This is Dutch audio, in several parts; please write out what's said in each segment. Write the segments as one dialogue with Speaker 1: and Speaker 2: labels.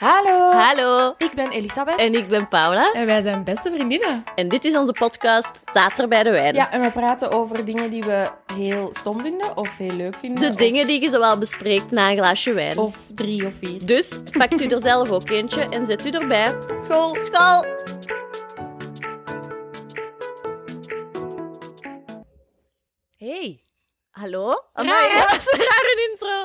Speaker 1: Hallo.
Speaker 2: Hallo,
Speaker 1: Ik ben Elisabeth.
Speaker 2: en ik ben Paula.
Speaker 1: En wij zijn beste vriendinnen.
Speaker 2: En dit is onze podcast Tater bij de Wijn.
Speaker 1: Ja, en we praten over dingen die we heel stom vinden of heel leuk vinden.
Speaker 2: De
Speaker 1: of-
Speaker 2: dingen die je zowel bespreekt na een glaasje wijn.
Speaker 1: Of drie of vier.
Speaker 2: Dus pakt u er zelf ook eentje en zet u erbij.
Speaker 1: school.
Speaker 2: School! Hey. Hallo?
Speaker 1: Raar,
Speaker 2: Amai,
Speaker 1: hè?
Speaker 2: dat was een rare intro.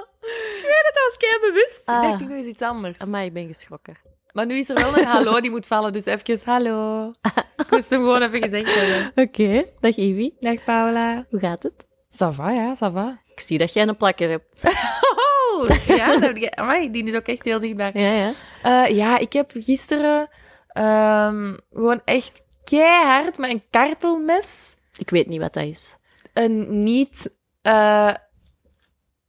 Speaker 1: Dat was kei bewust.
Speaker 2: Ah.
Speaker 1: Ik dacht, ik doe eens iets anders.
Speaker 2: Amai, ik ben geschrokken.
Speaker 1: Maar nu is er wel een hallo die moet vallen, dus even hallo. Ik moest hem gewoon even gezegd hebben.
Speaker 2: Oké, dag Ivy.
Speaker 1: Dag Paula.
Speaker 2: Hoe gaat het?
Speaker 1: Ça va, ja, ça va.
Speaker 2: Ik zie dat jij een plakker hebt.
Speaker 1: Oh, ja, dat heb ik... Amai, die is ook echt heel dichtbij.
Speaker 2: ja, ja.
Speaker 1: Eh, ja, ik heb gisteren ehm, gewoon echt keihard met een kartelmes
Speaker 2: Ik weet niet wat dat is.
Speaker 1: een niet... eh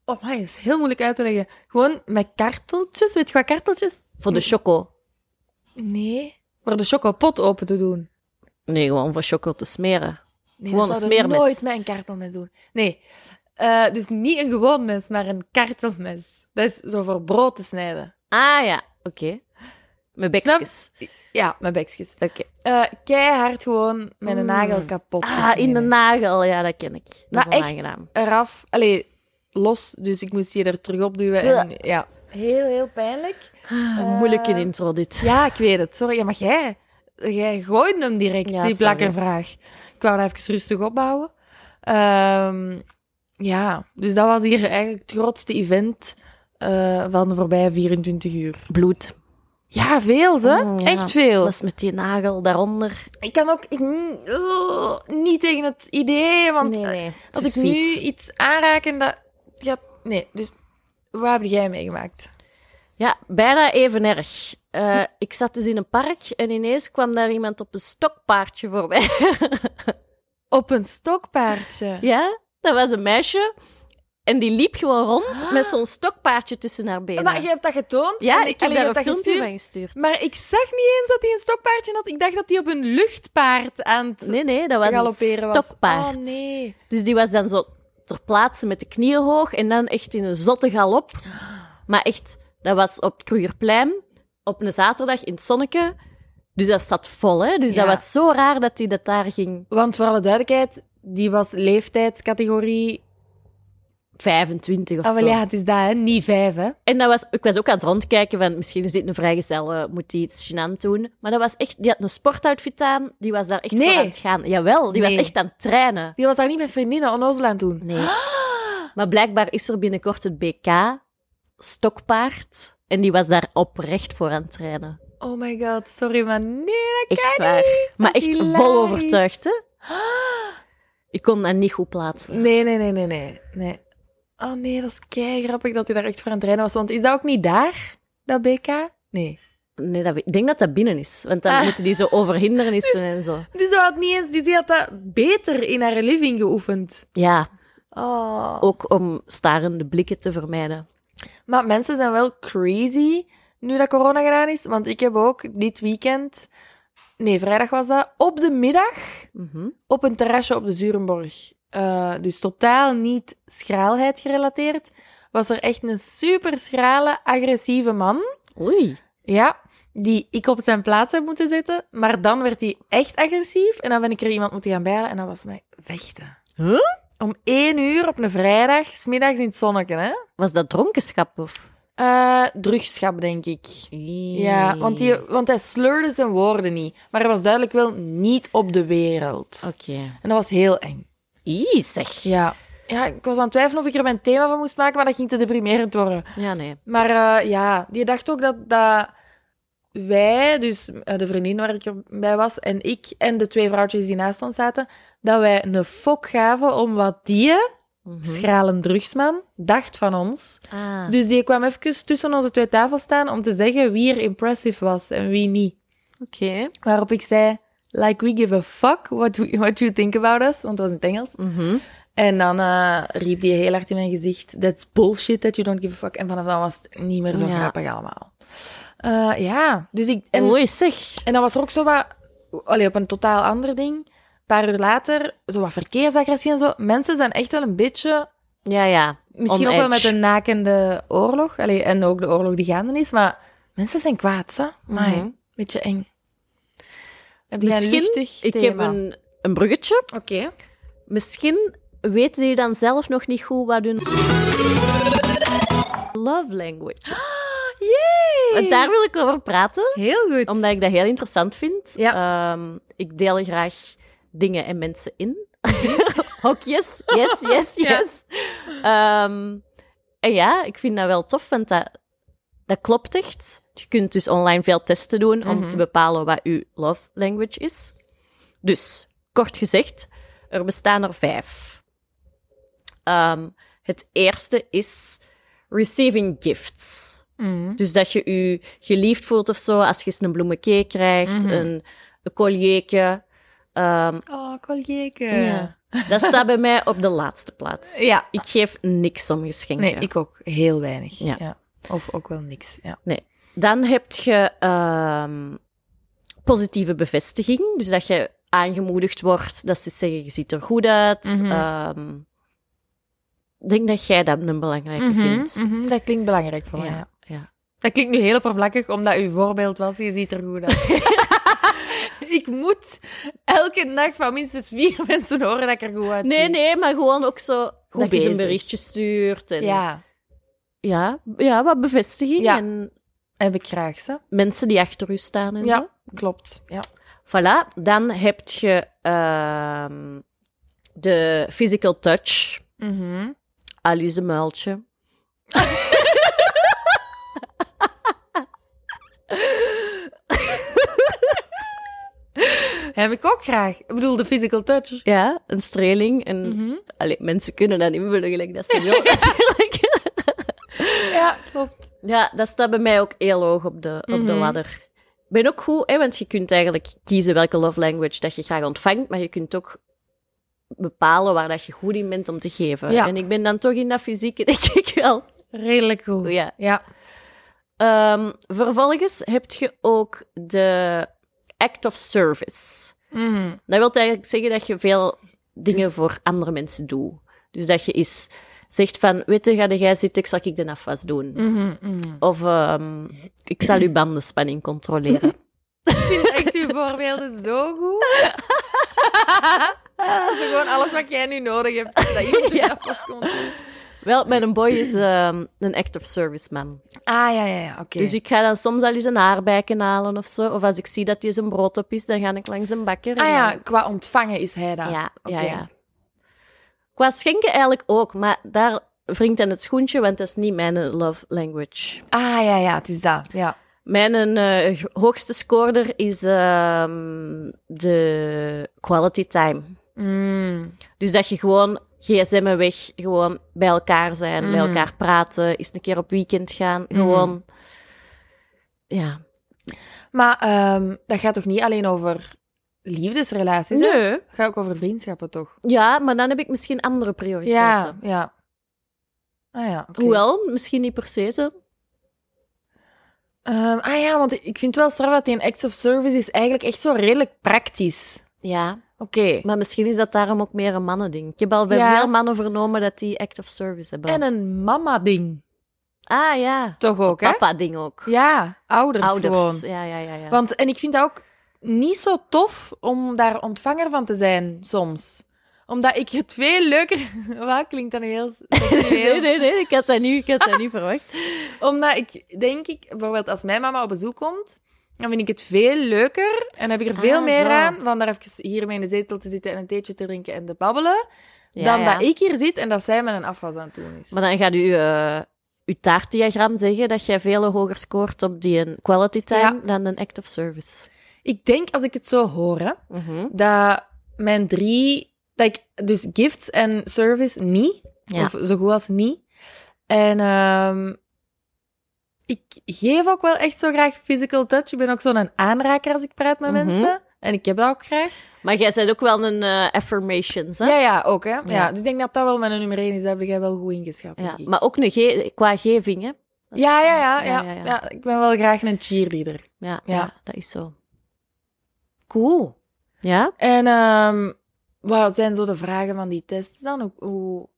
Speaker 1: Oh my, dat is heel moeilijk uit te leggen. Gewoon met karteltjes. Weet je wat karteltjes?
Speaker 2: Voor de choco.
Speaker 1: Nee. Voor de chocopot open te doen.
Speaker 2: Nee, gewoon voor choco te smeren.
Speaker 1: Nee,
Speaker 2: Gewoon
Speaker 1: dat
Speaker 2: een
Speaker 1: zou ik
Speaker 2: smeermes.
Speaker 1: nooit met een kartelmes doen. Nee. Eh, dus niet een gewoon mes, maar een kartelmes. Dat is zo voor brood te snijden.
Speaker 2: Ah ja, oké. Mijn bekjes.
Speaker 1: Ja, met bekjes.
Speaker 2: Oké.
Speaker 1: Eh, keihard gewoon met een
Speaker 2: Mm.
Speaker 1: nagel kapot
Speaker 2: Ah,
Speaker 1: gesneden.
Speaker 2: in de nagel. Ja, dat ken ik. Dat
Speaker 1: Maar
Speaker 2: is
Speaker 1: echt
Speaker 2: onaangenaam.
Speaker 1: eraf, allee, los, dus ik moest je er terug op duwen. En, ja. Heel, heel pijnlijk.
Speaker 2: Een moeilijke intro dit.
Speaker 1: Ja, ik weet het. Sorry, ja, maar jij, jij gooide hem direct,
Speaker 2: Ja,
Speaker 1: die
Speaker 2: sorry.
Speaker 1: plakkervraag. Ik wou dat even rustig opbouwen. Ehm, ja, dus dat was hier eigenlijk het grootste event eh, van de voorbije 24 uur.
Speaker 2: Bloed.
Speaker 1: Ja, veel, hè?
Speaker 2: Mm, ja.
Speaker 1: Echt veel.
Speaker 2: Dat is met die nagel daaronder.
Speaker 1: Ik kan ook mm, oh, niet tegen het idee, want
Speaker 2: nee, nee. Het
Speaker 1: Als
Speaker 2: is
Speaker 1: ik
Speaker 2: vies.
Speaker 1: nu iets aanraak en dat... Ja, nee, dus wat heb jij meegemaakt?
Speaker 2: Ja, bijna even erg. Eh, ik zat dus in een park en ineens kwam daar iemand op een stokpaardje voorbij.
Speaker 1: Op een stokpaardje.
Speaker 2: ja, dat was een meisje. En die liep gewoon rond met zo'n stokpaardje tussen haar benen.
Speaker 1: Ah. Maar je hebt dat getoond?
Speaker 2: Ja,
Speaker 1: en
Speaker 2: ik heb
Speaker 1: allee, je
Speaker 2: daar
Speaker 1: hebt dat
Speaker 2: een filmpje
Speaker 1: gestuurd.
Speaker 2: van gestuurd.
Speaker 1: Maar ik zag niet eens dat hij een stokpaardje had. Ik dacht dat hij op een luchtpaard aan het
Speaker 2: Nee, nee, dat was een
Speaker 1: galopperen was.
Speaker 2: stokpaard.
Speaker 1: Oh, nee.
Speaker 2: Dus die was dan zo ter plaatse met de knieën hoog en dan echt in een zotte galop. Maar echt, dat was op het Krugerplein op een zaterdag in het zonneke. Dus dat zat vol, hè? Dus
Speaker 1: Ja.
Speaker 2: dat was zo raar dat die dat daar ging.
Speaker 1: Want voor alle duidelijkheid, die was leeftijdscategorie...
Speaker 2: 25 of
Speaker 1: Ah,
Speaker 2: zo.
Speaker 1: wel ja, het is dat, hè. Niet vijf, hè.
Speaker 2: En dat was, ik was ook aan het rondkijken van misschien is dit een vrijgezel, eh, moet die iets gênant doen. Maar dat was echt, die had een sportoutfit aan, die was daar echt
Speaker 1: Nee.
Speaker 2: voor aan het gaan. Jawel, die
Speaker 1: Nee.
Speaker 2: was echt aan het trainen.
Speaker 1: Die was daar niet met vriendinnen onnozel aan het doen.
Speaker 2: Nee. Maar blijkbaar is er binnenkort het BK, stokpaard. En die was daar oprecht voor aan het trainen.
Speaker 1: Oh my god, sorry, maar nee.
Speaker 2: Echt waar. Maar
Speaker 1: Dat is
Speaker 2: echt
Speaker 1: hilarisch.
Speaker 2: vol overtuigd, hè? Ik kon dat niet goed plaatsen.
Speaker 1: Nee, nee, nee, nee, nee. nee. Oh nee, dat is kei grappig dat hij daar echt voor aan het rennen was. Want is dat ook niet daar, dat BK? Nee.
Speaker 2: Nee, dat, weet- ik denk dat dat binnen is. Want dan
Speaker 1: Ah.
Speaker 2: moeten die zo over hindernissen en zo.
Speaker 1: Dus ze had niet eens, dus die had dat beter in haar living geoefend.
Speaker 2: Ja,
Speaker 1: Oh.
Speaker 2: ook om starende blikken te vermijden.
Speaker 1: Maar mensen zijn wel crazy nu dat corona gedaan is. Want ik heb ook dit weekend, nee, vrijdag was dat, op de middag
Speaker 2: Mhm.
Speaker 1: op een terrasje op de Zurenborg. Eh, dus totaal niet schraalheid gerelateerd. Was er echt een super schrale, agressieve man.
Speaker 2: Oei.
Speaker 1: Ja, die ik op zijn plaats heb moeten zetten. Maar dan werd hij echt agressief. En dan ben ik er iemand moeten gaan bijlen. En dat was mij vechten.
Speaker 2: Huh?
Speaker 1: Om één uur op een vrijdag, smiddags in het zonnetje, hè?
Speaker 2: Was dat dronkenschap of?
Speaker 1: Eh, drugschap, denk ik. Ja, want, die, want hij slurde zijn woorden niet. Maar hij was duidelijk wel niet op de wereld.
Speaker 2: Oké.
Speaker 1: En dat was heel eng.
Speaker 2: Ie, zeg. Ja,
Speaker 1: Ja. ja, ik was aan het twijfelen of ik er mijn thema van moest maken, maar dat ging te deprimerend worden.
Speaker 2: nee.
Speaker 1: Maar eh, ja, die dacht ook dat, dat wij, dus eh, de vriendin waar ik bij was, en ik en de twee vrouwtjes die naast ons zaten, dat wij een fok gaven om wat die,
Speaker 2: Mhm.
Speaker 1: schralen drugsman, dacht van ons.
Speaker 2: Ah.
Speaker 1: Dus die kwam even tussen onze twee tafels staan om te zeggen wie er impressive was en wie niet.
Speaker 2: Oké.
Speaker 1: Waarop ik zei, like we give a fuck what, we- what you think about us, want het was in het Engels.
Speaker 2: Mhm.
Speaker 1: En dan eh, riep die heel hard in mijn gezicht: That's bullshit that you don't give a fuck. En vanaf dan was het niet meer zo
Speaker 2: Ja.
Speaker 1: grappig allemaal. Eh, ja, dus ik. En,
Speaker 2: Oei, zeg.
Speaker 1: en dan was er ook zo wat. Allee, op een totaal ander ding. Een paar uur later, zo wat verkeersagressie en zo. Mensen zijn echt wel een beetje.
Speaker 2: Ja, ja.
Speaker 1: Misschien
Speaker 2: On
Speaker 1: ook wel met
Speaker 2: edge.
Speaker 1: een nakende oorlog. Allee, en ook de oorlog die gaande is. Maar Mensen zijn kwaad, hè? Maar
Speaker 2: Mhm.
Speaker 1: beetje eng. Heb jij een
Speaker 2: Misschien,
Speaker 1: luchtig
Speaker 2: ik heb
Speaker 1: thema?
Speaker 2: een, Ah, een bruggetje.
Speaker 1: Oké.
Speaker 2: Misschien weten die dan zelf nog niet goed wat hun love language.
Speaker 1: Ah,
Speaker 2: Want daar wil ik over praten,
Speaker 1: Heel goed.
Speaker 2: omdat ik dat heel interessant vind.
Speaker 1: Ja.
Speaker 2: Ehm, ik deel graag dingen en mensen in. Hokjes, yes, yes,
Speaker 1: Ja.
Speaker 2: yes. Ehm, en ja, ik vind dat wel tof, want dat, dat klopt echt. Je kunt dus online veel testen doen om
Speaker 1: Mhm.
Speaker 2: te bepalen wat uw love language is. Dus, kort gezegd, er bestaan er vijf. Ehm, het eerste is receiving gifts.
Speaker 1: Mhm.
Speaker 2: Dus dat je je geliefd voelt of zo als je eens een bloemenkee krijgt,
Speaker 1: Mhm.
Speaker 2: een, een collietje. Ehm,
Speaker 1: Oh, koljeke.
Speaker 2: Ja. dat staat bij mij op de laatste plaats.
Speaker 1: Ja.
Speaker 2: Ik geef niks om geschenken.
Speaker 1: Nee, ik ook. Heel weinig.
Speaker 2: Ja.
Speaker 1: Of ook wel niks. Ja.
Speaker 2: Dan heb je ehm, positieve bevestiging. Dus dat je aangemoedigd wordt, dat ze zeggen, je ziet er goed uit.
Speaker 1: Mhm.
Speaker 2: Ehm, ik denk dat jij dat een belangrijke
Speaker 1: Mhm,
Speaker 2: vindt.
Speaker 1: mhm, Dat klinkt belangrijk voor mij.
Speaker 2: Ja,
Speaker 1: ja.
Speaker 2: ja.
Speaker 1: Dat klinkt nu heel oppervlakkig, omdat uw voorbeeld was, je ziet er goed uit. ik moet elke dag van minstens vier mensen horen dat ik er goed uit
Speaker 2: Nee, nee, maar gewoon ook zo dat je ze een
Speaker 1: bezig.
Speaker 2: berichtje stuurt. En,
Speaker 1: Ja,
Speaker 2: ja, ja, wat bevestiging.
Speaker 1: Ja.
Speaker 2: En
Speaker 1: heb ik graag ze.
Speaker 2: mensen die achter u staan en zo.
Speaker 1: Ja, klopt. Ja.
Speaker 2: Voilà, dan heb je ehm, de physical touch.
Speaker 1: Mhm.
Speaker 2: Alice een muiltje.
Speaker 1: Heb ik ook graag. Ik bedoel, de physical touch.
Speaker 2: Ja, een streling. En,
Speaker 1: Mhm.
Speaker 2: allee, mensen kunnen dat invullen gelijk dat ze willen natuurlijk.
Speaker 1: Ja, klopt.
Speaker 2: Ja, dat staat bij mij ook heel hoog op de, op de
Speaker 1: Mhm.
Speaker 2: ladder. Ik ben ook goed, hè, want je kunt eigenlijk kiezen welke love language dat je graag ontvangt, maar je kunt ook bepalen waar dat je goed in bent om te geven.
Speaker 1: Ja.
Speaker 2: En ik ben dan toch in dat fysieke, denk ik wel.
Speaker 1: Redelijk goed.
Speaker 2: Ja.
Speaker 1: Ja.
Speaker 2: Ehm, vervolgens heb je ook de act of service.
Speaker 1: Mhm.
Speaker 2: Dat wil eigenlijk zeggen dat je veel dingen voor andere mensen doet. Dus dat je eens zegt van, weet je, ga jij zitten, ik zal ik de afwas doen.
Speaker 1: Mhm, mhm.
Speaker 2: Of ehm, ik zal uw bandenspanning controleren.
Speaker 1: Ik vind echt uw voorbeelden zo goed. dat is gewoon alles wat jij nu nodig hebt. Dat iemand je dat vast komt doen.
Speaker 2: Wel, mijn boy is ehm, een act of service man.
Speaker 1: Ah, ja, ja, ja. Oké.
Speaker 2: Dus ik ga dan soms al eens een haarbijken halen of zo. Of als ik zie dat hij zijn brood op is, dan ga ik langs een bakker.
Speaker 1: Ah
Speaker 2: en
Speaker 1: ja,
Speaker 2: dan-
Speaker 1: qua ontvangen is hij daar.
Speaker 2: Ja, ja,
Speaker 1: Oké.
Speaker 2: ja. Qua schenken eigenlijk ook, maar daar wringt aan het schoentje, want dat is niet mijn eh, love language.
Speaker 1: Ah ja, ja, het is dat. Ja.
Speaker 2: Mijn eh, g- hoogste scoorder is ehm, de quality time.
Speaker 1: Mm.
Speaker 2: Dus dat je gewoon gsm'en weg, gewoon bij elkaar zijn, bij
Speaker 1: Mhm.
Speaker 2: elkaar praten, eens een keer op weekend gaan, gewoon... Ja.
Speaker 1: Maar ehm, dat gaat toch niet alleen over liefdesrelaties? hè?
Speaker 2: Nee.
Speaker 1: Het gaat ook over vriendschappen, toch?
Speaker 2: Ja, maar dan heb ik misschien andere prioriteiten.
Speaker 1: Ja, ja. Ah ja, oké.
Speaker 2: Hoewel, misschien niet per se zo.
Speaker 1: Ehm, ah ja, want ik vind wel straf dat die een act of service is eigenlijk echt zo redelijk praktisch.
Speaker 2: Ja.
Speaker 1: Oké.
Speaker 2: Maar misschien is dat daarom ook meer een mannending. Ik heb al bij
Speaker 1: Ja.
Speaker 2: veel mannen vernomen dat die act of service hebben.
Speaker 1: En een mama-ding.
Speaker 2: ah ja,
Speaker 1: Toch ook, hè?
Speaker 2: papa-ding ook.
Speaker 1: Ja, ouders,
Speaker 2: Ouders.
Speaker 1: gewoon.
Speaker 2: Ja, ja, ja. ja.
Speaker 1: Want, en ik vind dat ook niet zo tof om daar ontvanger van te zijn, soms. Omdat ik het veel leuker... Wat klinkt dan heel seksueel?
Speaker 2: nee, nee, nee, ik had dat niet, ik had dat niet verwacht.
Speaker 1: Omdat ik, denk ik, bijvoorbeeld als mijn mama op bezoek komt, dan vind ik het veel leuker en heb ik er veel
Speaker 2: Ah,
Speaker 1: meer
Speaker 2: zo.
Speaker 1: aan van daar even hiermee in de zetel te zitten en een theetje te drinken en te babbelen,
Speaker 2: Ja,
Speaker 1: dan
Speaker 2: ja.
Speaker 1: dat ik hier zit en dat zij met een afwas aan het doen is.
Speaker 2: Maar dan gaat u eh uw taartdiagram zeggen dat jij veel hoger scoort op die een quality time
Speaker 1: Ja.
Speaker 2: dan een act of service.
Speaker 1: Ik denk, als ik het zo hoor, hè,
Speaker 2: Mhm.
Speaker 1: dat mijn drie... Dat ik dus gifts en service niet,
Speaker 2: Ja.
Speaker 1: of zo goed als niet. En ehm, ik geef ook wel echt zo graag physical touch. Ik ben ook zo'n aanraker als ik praat met
Speaker 2: Mhm.
Speaker 1: mensen. En ik heb dat ook graag.
Speaker 2: Maar jij bent ook wel een eh, affirmations, hè?
Speaker 1: Ja, ja, ook hè. Ja.
Speaker 2: Ja.
Speaker 1: dus ik denk dat dat wel mijn nummer 1 is. Dat heb jij wel goed ingeschat.
Speaker 2: Ja,
Speaker 1: denk ik.
Speaker 2: Maar ook een ge- qua geving, hè? Dat is-
Speaker 1: ja, ja, ja, ja,
Speaker 2: ja, ja.
Speaker 1: Ja, Ik ben wel graag een cheerleader.
Speaker 2: Ja,
Speaker 1: Ja.
Speaker 2: ja, dat is zo.
Speaker 1: Cool.
Speaker 2: Ja?
Speaker 1: En ehm, wat zijn zo de vragen van die tests dan? Hoe, hoe...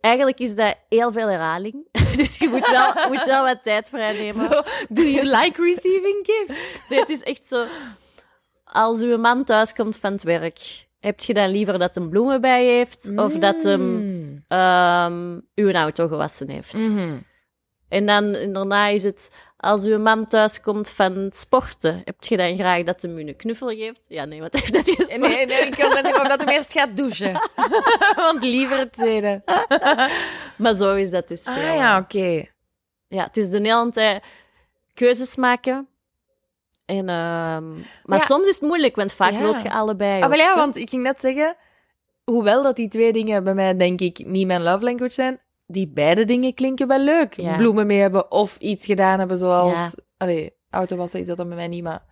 Speaker 2: Eigenlijk is dat heel veel herhaling. Dus je moet wel, moet wel wat tijd vrijnemen.
Speaker 1: Zo, do you like receiving gifts?
Speaker 2: Nee, het is echt zo. Als uw man thuiskomt van het werk, heb je dan liever dat hem bloemen bij heeft of dat hem
Speaker 1: Mm.
Speaker 2: ehm uw auto gewassen heeft?
Speaker 1: Mhm.
Speaker 2: En dan en daarna is het, als uw man thuiskomt van het sporten, heb je dan graag dat hem u een knuffel geeft? Ja, nee, wat heeft dat gesport?
Speaker 1: Nee, nee, ik hoop dat, ik hoop dat hem eerst gaat douchen. Want liever het tweede.
Speaker 2: Maar zo is dat dus
Speaker 1: Ah
Speaker 2: veel.
Speaker 1: ja, oké.
Speaker 2: Ja, het is de hele tijd keuzes maken. En, ehm, maar
Speaker 1: Ja.
Speaker 2: soms is het moeilijk, want vaak
Speaker 1: Ja.
Speaker 2: wil je allebei.
Speaker 1: Ah, wel
Speaker 2: ook,
Speaker 1: ja,
Speaker 2: zo.
Speaker 1: want ik ging net zeggen, hoewel dat die twee dingen bij mij denk ik niet mijn love language zijn, die beide dingen klinken wel leuk.
Speaker 2: Ja.
Speaker 1: Bloemen mee hebben of iets gedaan hebben zoals...
Speaker 2: Ja.
Speaker 1: Allee, auto wassen is dat dan bij mij niet, maar...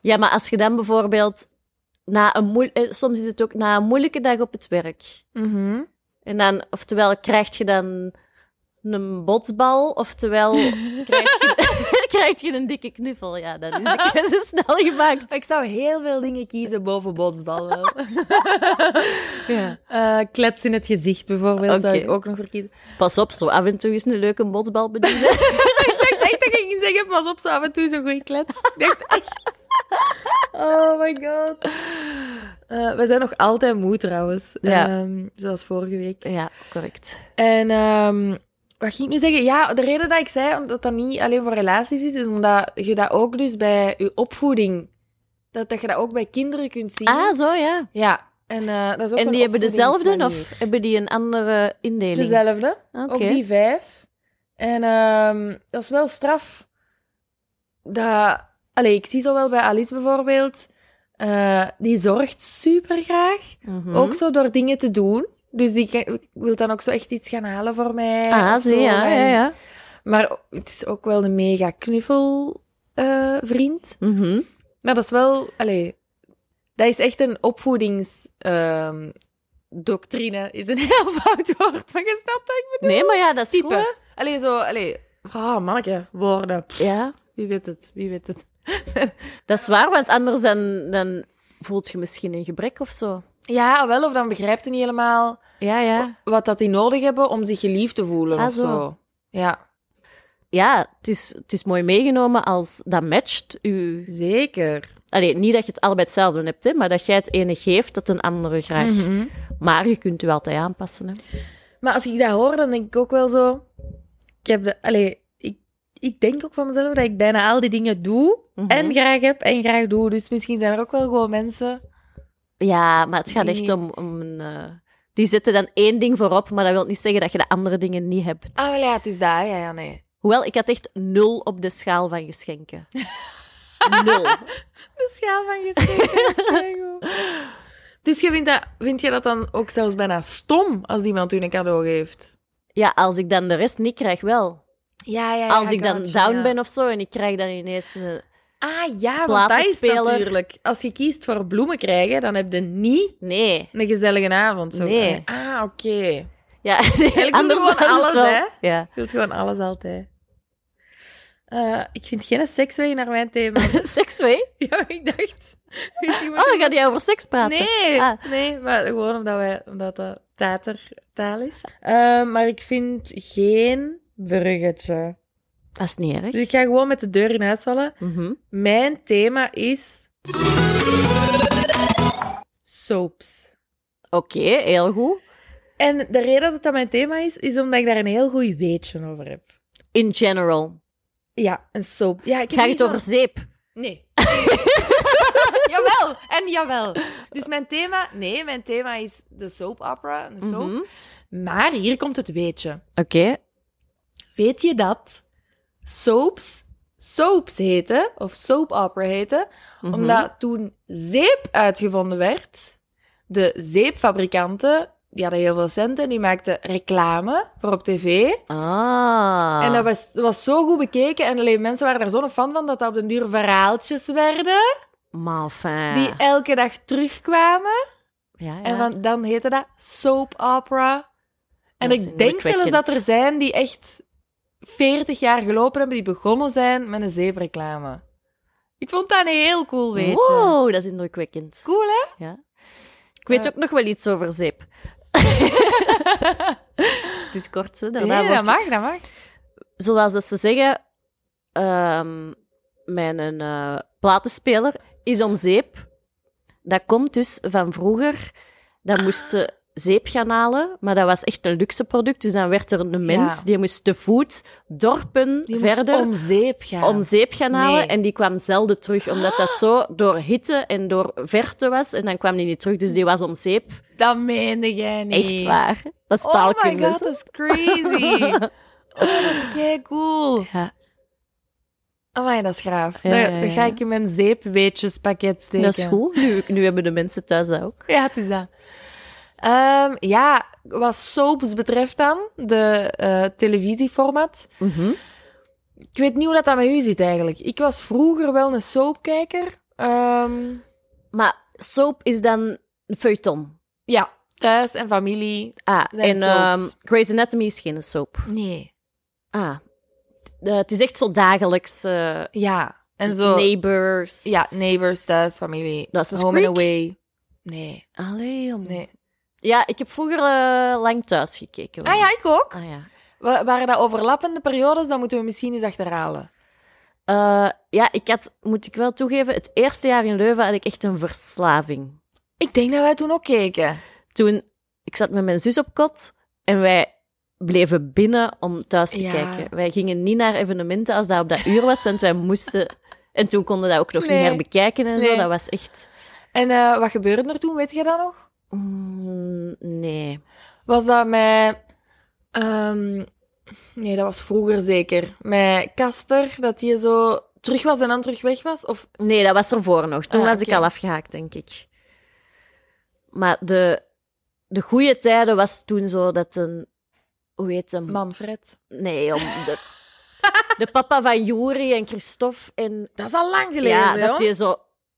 Speaker 2: Ja, maar als je dan bijvoorbeeld na een moe- eh, soms is het ook na een moeilijke dag op het werk.
Speaker 1: Mhm.
Speaker 2: En dan, oftewel krijg je dan een botsbal, oftewel krijg je, krijg je een dikke knuffel. Ja, dan is de keuze snel gemaakt.
Speaker 1: Ik zou heel veel dingen kiezen boven botsbal wel.
Speaker 2: Ja.
Speaker 1: Eh, klets in het gezicht bijvoorbeeld zou
Speaker 2: Oké.
Speaker 1: ik ook nog verkiezen.
Speaker 2: Pas op, zo af en toe is een leuke botsbal bedienen.
Speaker 1: Ik dacht dat ik ging zeggen, pas op, zo af en toe zo'n goeie klets. Ik dacht echt... Oh my god. Eh, we zijn nog altijd moe trouwens.
Speaker 2: Ja.
Speaker 1: Ehm, zoals vorige week.
Speaker 2: ja, correct.
Speaker 1: En ehm, wat ging ik nu zeggen? Ja, de reden dat ik zei dat dat niet alleen voor relaties is, is omdat je dat ook dus bij je opvoeding, dat, dat je dat ook bij kinderen kunt zien.
Speaker 2: Ah, zo ja.
Speaker 1: Ja, en eh, dat is ook
Speaker 2: En
Speaker 1: een
Speaker 2: die hebben dezelfde
Speaker 1: opvoedingsmanier.
Speaker 2: of hebben die een andere indeling?
Speaker 1: Dezelfde,
Speaker 2: Oké.
Speaker 1: ook die vijf. En ehm, dat is wel straf. Dat, allee, ik zie zo wel bij Alice bijvoorbeeld, eh, die zorgt super graag.
Speaker 2: Mhm.
Speaker 1: Ook zo door dingen te doen. Dus die ke- ik wil dan ook zo echt iets gaan halen voor mij.
Speaker 2: Ah,
Speaker 1: of
Speaker 2: zie,
Speaker 1: zo.
Speaker 2: ja, ja,
Speaker 1: En-
Speaker 2: ja.
Speaker 1: Maar het is ook wel een mega knuffelvriend.
Speaker 2: Mhm.
Speaker 1: maar dat is wel... Allee, dat is echt een opvoedingsdoctrine. is een heel fout woord, maar je snapt dat?
Speaker 2: Nee, maar ja, dat is goed.
Speaker 1: Type. Allee, zo... Allee, ah, manneke, woorden. Pff,
Speaker 2: hè. Ja.
Speaker 1: Wie weet het, wie weet het.
Speaker 2: Dat is waar, want anders dan, dan voelt je misschien een gebrek of zo.
Speaker 1: Ja, wel, of dan begrijpt hij niet helemaal
Speaker 2: Ja, ja.
Speaker 1: wat dat die nodig hebben om zich geliefd te voelen
Speaker 2: Ah,
Speaker 1: of
Speaker 2: zo.
Speaker 1: zo. Ja,
Speaker 2: Ja, het is, het is mooi meegenomen als dat matcht u.
Speaker 1: zeker.
Speaker 2: Allee, niet dat je het allebei hetzelfde hebt, hè, maar dat jij het ene geeft dat een andere graag.
Speaker 1: Mhm.
Speaker 2: Maar je kunt u altijd aanpassen. Hè.
Speaker 1: Maar als ik dat hoor, dan denk ik ook wel zo. Ik heb de. Allee, ik, ik denk ook van mezelf dat ik bijna al die dingen doe.
Speaker 2: Mhm.
Speaker 1: En graag heb en graag doe. Dus misschien zijn er ook wel gewoon mensen.
Speaker 2: Ja, maar het gaat echt
Speaker 1: Nee.
Speaker 2: om, om een. eh, die zetten dan één ding voorop, maar dat wil niet zeggen dat je de andere dingen niet hebt.
Speaker 1: Ah, wel ja, het is dat. Ja, ja, nee.
Speaker 2: Hoewel, ik had echt nul op de schaal van geschenken. nul.
Speaker 1: De schaal van geschenken. dus je vindt, dat, vind je dat dan ook zelfs bijna stom als iemand u een cadeau geeft?
Speaker 2: Ja, als ik dan de rest niet krijg, wel.
Speaker 1: Ja, ja,
Speaker 2: Als ik dan down ben of zo en ik krijg dan ineens een...
Speaker 1: Ah ja, want dat is
Speaker 2: platenspeler.
Speaker 1: natuurlijk. Als je kiest voor bloemen krijgen, dan heb je niet
Speaker 2: Nee.
Speaker 1: een gezellige avond. Zo.
Speaker 2: Nee.
Speaker 1: Ah, oké.
Speaker 2: Ja,
Speaker 1: doen we gewoon
Speaker 2: was het
Speaker 1: alles,
Speaker 2: wel-
Speaker 1: hè?
Speaker 2: Ja.
Speaker 1: Je wilt gewoon alles altijd. Eh, ik vind geen seksweg naar mijn thema.
Speaker 2: Seks mee?
Speaker 1: ja, maar ik dacht... misschien moet
Speaker 2: Oh,
Speaker 1: ik-
Speaker 2: gaat die over seks praten?
Speaker 1: Nee,
Speaker 2: Ah.
Speaker 1: nee, maar gewoon omdat, wij, omdat dat tatertaal is. Eh, maar ik vind geen bruggetje.
Speaker 2: Dat is niet erg.
Speaker 1: Dus ik ga gewoon met de deur in huis vallen.
Speaker 2: Mhm.
Speaker 1: Mijn thema is... Soaps.
Speaker 2: Oké, heel goed.
Speaker 1: En de reden dat dat mijn thema is, is omdat ik daar een heel goed weetje over heb.
Speaker 2: In general.
Speaker 1: Ja, een soap. Ja, ik heb
Speaker 2: Gaat
Speaker 1: niet
Speaker 2: het
Speaker 1: zo-
Speaker 2: over zeep?
Speaker 1: Nee. jawel, en jawel. Dus mijn thema... Nee, mijn thema is de soap opera, een soap.
Speaker 2: Mhm.
Speaker 1: Maar hier komt het weetje.
Speaker 2: Oké.
Speaker 1: Weet je dat soaps soaps heten, of soap opera heten,
Speaker 2: Mhm.
Speaker 1: omdat toen zeep uitgevonden werd, de zeepfabrikanten, die hadden heel veel centen, die maakten reclame voor op tv.
Speaker 2: Ah.
Speaker 1: En dat was, dat was zo goed bekeken en alleen mensen waren daar zo'n fan van dat dat op den duur verhaaltjes werden,
Speaker 2: Maar fijn.
Speaker 1: die elke dag terugkwamen.
Speaker 2: Ja, ja.
Speaker 1: En van, dan heette dat soap opera. En
Speaker 2: Dat is
Speaker 1: ik denk zelfs
Speaker 2: indrukwekkend.
Speaker 1: dat er zijn die echt 40 jaar gelopen hebben, die begonnen zijn met een zeepreclame. Ik vond dat een heel cool weetje.
Speaker 2: Wow, dat is indrukwekkend.
Speaker 1: Cool, hè?
Speaker 2: Ik weet
Speaker 1: Eh.
Speaker 2: ook nog wel iets over zeep. het is kort, hè? Daarna
Speaker 1: Nee,
Speaker 2: Nou, wordt
Speaker 1: dat
Speaker 2: je-
Speaker 1: mag, dat mag.
Speaker 2: zoals dat ze zeggen, ehm, mijn eh, platenspeler is om zeep. Dat komt dus van vroeger. Dan moest
Speaker 1: Ah.
Speaker 2: ze zeep gaan halen, maar dat was echt een luxe product. Dus dan werd er een mens,
Speaker 1: Ja.
Speaker 2: die moest te voet dorpen
Speaker 1: Die moest
Speaker 2: verder
Speaker 1: om zeep gaan.
Speaker 2: om zeep gaan halen.
Speaker 1: Nee.
Speaker 2: En die kwam zelden terug, omdat dat zo door hitte en door verte was. En dan kwam die niet terug, dus die was om zeep.
Speaker 1: Dat meende jij niet.
Speaker 2: Echt waar. Dat is
Speaker 1: Oh my
Speaker 2: taalkunde.
Speaker 1: god,
Speaker 2: hè?
Speaker 1: dat is crazy. oh, dat is kei cool.
Speaker 2: Ja,
Speaker 1: Amai, dat is graaf.
Speaker 2: Ja,
Speaker 1: daar,
Speaker 2: ja, ja.
Speaker 1: daar ga ik in mijn zeepweetjespakket steken.
Speaker 2: dat is goed. Nu, nu hebben de mensen thuis dat ook.
Speaker 1: Ja, het is dat. Ehm, ja, wat soaps betreft dan, de eh, televisieformat. Ik weet niet hoe dat, dat met u zit eigenlijk. Ik was vroeger wel een soapkijker. Ehm,
Speaker 2: Maar soap is dan een feuilleton.
Speaker 1: ja, thuis en familie.
Speaker 2: Ah,
Speaker 1: Zijn
Speaker 2: en ehm
Speaker 1: soaps.
Speaker 2: Grey's Anatomy is geen soap.
Speaker 1: Nee.
Speaker 2: Ah. Eh, het is echt zo dagelijks. eh,
Speaker 1: Ja, en zo.
Speaker 2: Neighbors.
Speaker 1: Ja, neighbors, thuis, familie.
Speaker 2: Dat is een
Speaker 1: Home
Speaker 2: spreek.
Speaker 1: and away. Nee,
Speaker 2: Allee, om-
Speaker 1: nee.
Speaker 2: Ja, ik heb vroeger eh, lang thuis gekeken.
Speaker 1: Ah ja, ik ook.
Speaker 2: Ah, ja.
Speaker 1: Wa- waren dat overlappende periodes? Dan moeten we misschien eens achterhalen.
Speaker 2: Eh, ja, ik had, moet ik wel toegeven, het eerste jaar in Leuven had ik echt een verslaving.
Speaker 1: Ik denk dat wij toen ook keken.
Speaker 2: Toen, ik zat met mijn zus op kot en wij bleven binnen om thuis te
Speaker 1: Ja.
Speaker 2: kijken. Wij gingen niet naar evenementen als dat op dat uur was, want wij moesten... En toen konden we dat ook nog
Speaker 1: Nee.
Speaker 2: niet herbekijken en zo.
Speaker 1: Nee.
Speaker 2: Dat was echt...
Speaker 1: En eh, wat gebeurde er toen? Weet je dat nog?
Speaker 2: Mm, nee.
Speaker 1: Was dat met... ehm, nee, dat was vroeger zeker. Met Casper, dat hij zo terug was en dan terug weg was? Of...
Speaker 2: Nee, dat was ervoor nog. Toen
Speaker 1: Ah,
Speaker 2: was ik
Speaker 1: oké.
Speaker 2: al afgehaakt, denk ik. Maar de, de goede tijden was toen zo dat een... Hoe heet hem?
Speaker 1: Manfred.
Speaker 2: Nee, om de, de papa van Juri en Christophe. En
Speaker 1: Dat is al lang
Speaker 2: ja,
Speaker 1: geleden,
Speaker 2: dat
Speaker 1: hoor.
Speaker 2: die zo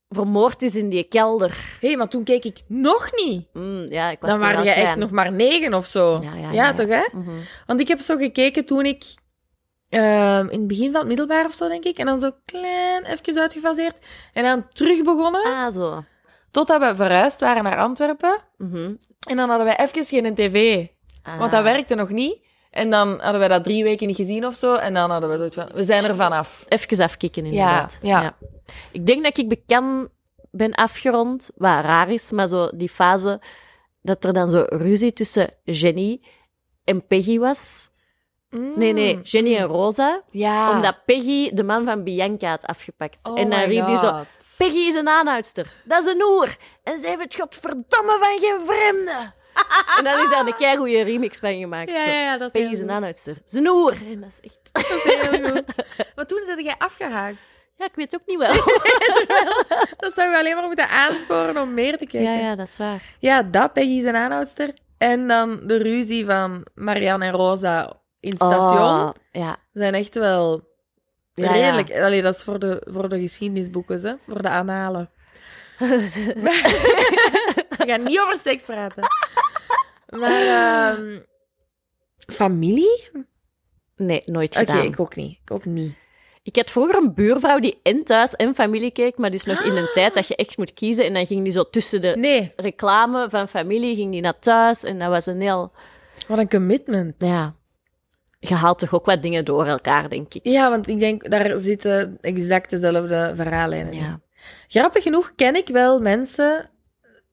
Speaker 2: vermoord is in die kelder.
Speaker 1: Hé, maar toen keek ik nog niet.
Speaker 2: Mm, ja, ik was
Speaker 1: Dan
Speaker 2: toen
Speaker 1: waren
Speaker 2: al
Speaker 1: jij echt
Speaker 2: klein.
Speaker 1: nog maar negen of zo.
Speaker 2: Ja, ja, ja, ja.
Speaker 1: toch hè?
Speaker 2: Mhm.
Speaker 1: Want ik heb zo gekeken toen ik ehm, in het begin van het middelbaar of zo, denk ik. En dan zo klein even uitgefaseerd. En dan terug begonnen.
Speaker 2: Ah, zo.
Speaker 1: Totdat we verhuisd waren naar Antwerpen.
Speaker 2: Mhm.
Speaker 1: En dan hadden wij even geen tv.
Speaker 2: Ah.
Speaker 1: Want dat werkte nog niet. En dan hadden wij dat drie weken niet gezien of zo. En dan hadden we zoiets van, we zijn er vanaf.
Speaker 2: Even afkicken, inderdaad.
Speaker 1: ja.
Speaker 2: Ik denk dat ik bekend ben afgerond, wat raar is, maar zo die fase dat er dan zo ruzie tussen Jenny en Peggy was. Mm. Nee, nee,
Speaker 1: Hmm.
Speaker 2: Jenny en Rosa.
Speaker 1: Ja.
Speaker 2: Omdat Peggy de man van Bianca had afgepakt.
Speaker 1: Oh
Speaker 2: en dan riep hij zo, Peggy is een aanhoudster. Dat is een oer. En ze heeft het godverdomme van geen vreemde. en dan is daar een keigoeie remix van gemaakt.
Speaker 1: Ja,
Speaker 2: zo.
Speaker 1: ja, ja, dat
Speaker 2: Peggy is een aanhoudster. Ze is een oer. En dat is echt...
Speaker 1: Dat is heel goed. Maar toen zette jij afgehaakt.
Speaker 2: Ja, ik weet ook niet wel.
Speaker 1: Dat zou je alleen maar moeten aansporen om meer te kijken.
Speaker 2: ja, ja, dat is waar.
Speaker 1: Ja, dat Peggy is een aanhoudster. En dan de ruzie van Marianne en Rosa in het station.
Speaker 2: Oh, ja.
Speaker 1: Zijn echt wel
Speaker 2: Ja, ja.
Speaker 1: redelijk. Allee, dat is voor de, voor de geschiedenisboeken, hè? voor de analen. We gaan niet over seks praten. Maar ehm, familie?
Speaker 2: Nee, nooit
Speaker 1: Oké,
Speaker 2: gedaan.
Speaker 1: ik ook niet. Ik ook niet.
Speaker 2: Ik had vroeger een buurvrouw die en thuis en familie keek, maar dus nog in een
Speaker 1: Ah.
Speaker 2: tijd dat je echt moet kiezen. En dan ging die zo tussen de
Speaker 1: Nee,
Speaker 2: reclame van familie, ging die naar thuis. En dat was een heel...
Speaker 1: wat een commitment.
Speaker 2: Ja. Je haalt toch ook wat dingen door elkaar, denk ik.
Speaker 1: Ja, want ik denk, daar zitten exact dezelfde verhaallijnen in.
Speaker 2: Ja.
Speaker 1: Grappig genoeg ken ik wel mensen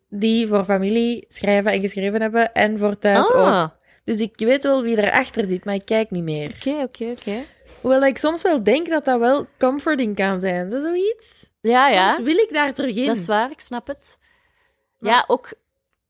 Speaker 1: die voor familie schrijven en geschreven hebben en voor thuis ook.
Speaker 2: Ah,
Speaker 1: Dus ik weet wel wie erachter zit, maar ik kijk niet meer.
Speaker 2: oké, oké, oké.
Speaker 1: Hoewel ik soms wel denk dat dat wel comforting kan zijn, zo zoiets.
Speaker 2: Ja, ja,
Speaker 1: Soms wil ik daar terug in.
Speaker 2: dat is waar, ik snap het.
Speaker 1: Maar-
Speaker 2: Ja, ook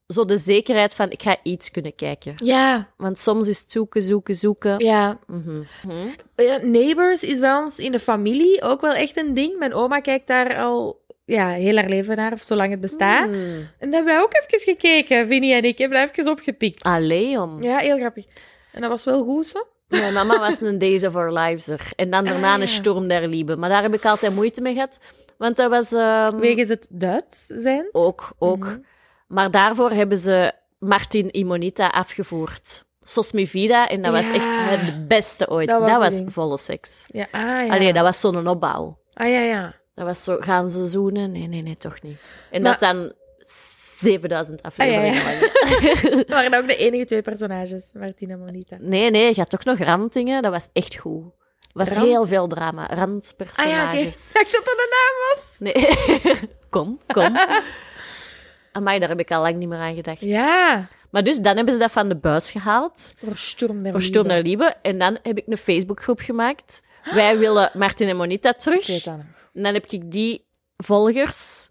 Speaker 2: zo de zekerheid van ik ga iets kunnen kijken.
Speaker 1: Ja,
Speaker 2: Want soms is het zoeken, zoeken, zoeken.
Speaker 1: ja.
Speaker 2: Mhm. Mhm.
Speaker 1: Ja, Neighbors is bij ons in de familie ook wel echt een ding. Mijn oma kijkt daar al ja, heel haar leven naar, of zolang het bestaat.
Speaker 2: Mm.
Speaker 1: En dat hebben wij ook even gekeken, Vinnie en ik. Hebben dat even opgepikt.
Speaker 2: Allee, om.
Speaker 1: Ja, heel grappig. En dat was wel goed, zo.
Speaker 2: Mijn mama was een Days of Our Lives er. En dan daarna
Speaker 1: Ah,
Speaker 2: een
Speaker 1: ja.
Speaker 2: Storm der Liebe. Maar daar heb ik altijd moeite mee gehad. Want dat was... ehm,
Speaker 1: Wegens het Duits zijn.
Speaker 2: Ook, ook.
Speaker 1: Mhm.
Speaker 2: Maar daarvoor hebben ze Martin Imonita afgevoerd. Sos Mi Vida. En dat was
Speaker 1: Ja.
Speaker 2: echt het beste ooit.
Speaker 1: Dat
Speaker 2: Dat
Speaker 1: was
Speaker 2: was,
Speaker 1: het ding.
Speaker 2: volle seks.
Speaker 1: Ja, ah ja.
Speaker 2: Allee, dat was zo'n opbouw.
Speaker 1: Ah ja, ja.
Speaker 2: Dat was zo, gaan ze zoenen? Nee, nee, nee, toch niet. En
Speaker 1: Maar-
Speaker 2: dat dan s- 7000 afleveringen
Speaker 1: Ah,
Speaker 2: lang.
Speaker 1: Dat waren ook de enige twee personages, Martina en Monita.
Speaker 2: Nee, nee, je had ook nog rantingen. Dat was echt goed. Er was
Speaker 1: Rand?
Speaker 2: heel veel drama.
Speaker 1: Ah ja, oké.
Speaker 2: Randpersonages.
Speaker 1: Ik dacht dat dat een naam was.
Speaker 2: Nee. kom, kom. Amai, daar heb ik al lang niet meer aan gedacht.
Speaker 1: Ja.
Speaker 2: Maar dus, dan hebben ze dat van de buis gehaald.
Speaker 1: Voor Sturm der
Speaker 2: Voor Sturm
Speaker 1: Liebe.
Speaker 2: naar Liebe. En dan heb ik een Facebookgroep gemaakt. Wij willen Martin en Monita terug.
Speaker 1: Ik weet dat nog.
Speaker 2: En dan heb ik die volgers...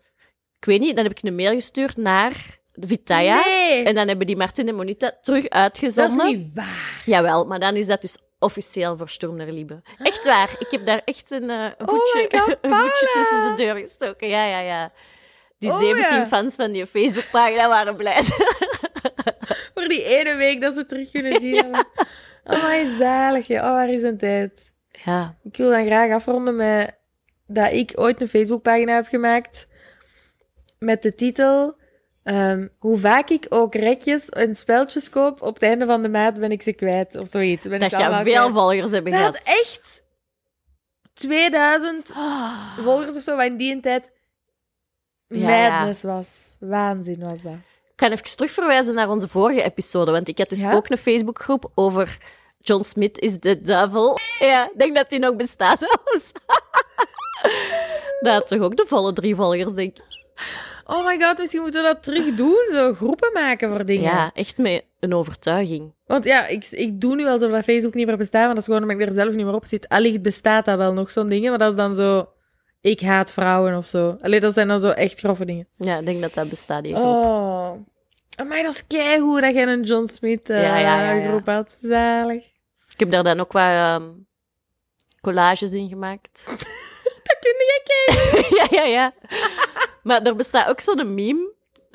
Speaker 2: Ik weet niet, dan heb ik een mail gestuurd naar Vitaya.
Speaker 1: Nee.
Speaker 2: Nou En dan hebben die Martin en Monita terug
Speaker 1: Dat is
Speaker 2: uitgezonden.
Speaker 1: niet waar.
Speaker 2: Jawel, maar dan is dat dus officieel voor Sturm naar Liebe. Echt waar. Ik heb daar echt een, eh, een voetje,
Speaker 1: Ah. Oh my God,
Speaker 2: een voetje
Speaker 1: Paula.
Speaker 2: tussen de deur gestoken. Ja, ja, ja. Die
Speaker 1: Oh,
Speaker 2: 17
Speaker 1: ja.
Speaker 2: fans van die Facebookpagina waren blij.
Speaker 1: Voor die ene week dat ze het terug kunnen zien. Oh, mijn zalig. joh. Oh, waar is een tijd?
Speaker 2: Ja.
Speaker 1: Ik wil dan graag afronden met dat ik ooit een Facebookpagina heb gemaakt met de titel ehm, Hoe vaak ik ook rekjes en speltjes koop, op het einde van de maand ben ik ze kwijt of zoiets. Ben
Speaker 2: Dat
Speaker 1: ik allemaal
Speaker 2: je veel
Speaker 1: kwijt.
Speaker 2: volgers hebben
Speaker 1: Dat had
Speaker 2: gehad.
Speaker 1: echt 2000
Speaker 2: Ah.
Speaker 1: volgers of zo, wat in die tijd
Speaker 2: Ja, ja.
Speaker 1: madness was. Waanzin was dat.
Speaker 2: Ik kan even terugverwijzen naar onze vorige episode, want ik had dus
Speaker 1: Ja?
Speaker 2: ook een Facebookgroep over John Smith is de duivel. Ja, ik denk dat die nog bestaat zelfs. Dat had toch ook de volle drie volgers, denk ik.
Speaker 1: Oh my god, misschien moeten we dat terug doen. Zo groepen maken voor dingen.
Speaker 2: Ja, echt met een overtuiging.
Speaker 1: Want ja, ik, ik doe nu alsof dat Facebook niet meer bestaat, maar dat is gewoon omdat ik er zelf niet meer op zit. Allicht bestaat dat wel nog, zo'n dingen, maar dat is dan zo... Ik haat vrouwen of zo. Allee, dat zijn dan zo echt grove dingen.
Speaker 2: Ja, ik denk dat dat bestaat, die groep.
Speaker 1: Oh. Maar dat is keigoed dat jij een John Smith eh,
Speaker 2: Ja, ja, ja, ja.
Speaker 1: groep had. Zalig.
Speaker 2: Ik heb daar dan ook wat ehm, collages in gemaakt.
Speaker 1: Dat kun je kijken.
Speaker 2: ja, ja, ja. maar er bestaat ook zo'n meme.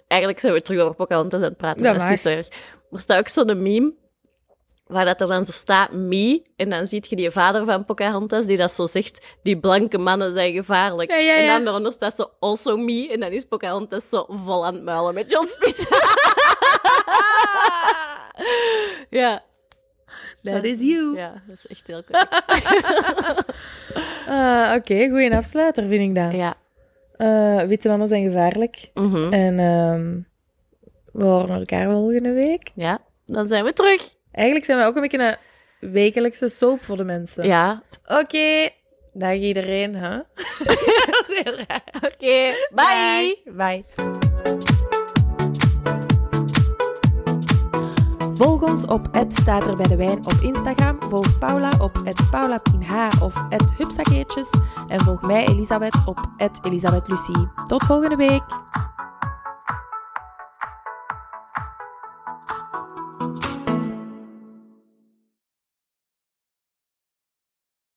Speaker 2: Eigenlijk zijn we terug over Pocahontas aan het praten,
Speaker 1: Dat
Speaker 2: maar dat is niet zo erg. Er bestaat ook zo'n meme waar dat er dan zo staat, me, en dan zie je die vader van Pocahontas die dat zo zegt, die blanke mannen zijn gevaarlijk.
Speaker 1: Ja, ja,
Speaker 2: En
Speaker 1: ja.
Speaker 2: dan daaronder staat zo, also me, en dan is Pocahontas zo vol aan het muilen met John Smith. ja.
Speaker 1: That is you.
Speaker 2: Ja, dat is echt heel correct.
Speaker 1: Ah, Oké, goeie afsluiter vind ik dat.
Speaker 2: ja.
Speaker 1: Eh, witte mannen zijn gevaarlijk.
Speaker 2: Mhm.
Speaker 1: En ehm, we horen elkaar volgende week.
Speaker 2: Ja, dan zijn we terug.
Speaker 1: Eigenlijk zijn we ook een beetje een wekelijkse soap voor de mensen.
Speaker 2: Ja.
Speaker 1: Oké, dag iedereen. Hè? Dat is heel raar.
Speaker 2: Oké, bye.
Speaker 1: Bye. Volg ons op het staat er bij de wijn op Instagram. Volg Paula op het paulapinh of het hupsakeertjes. En volg mij Elisabeth op het Elisabeth Lucie. Tot volgende week.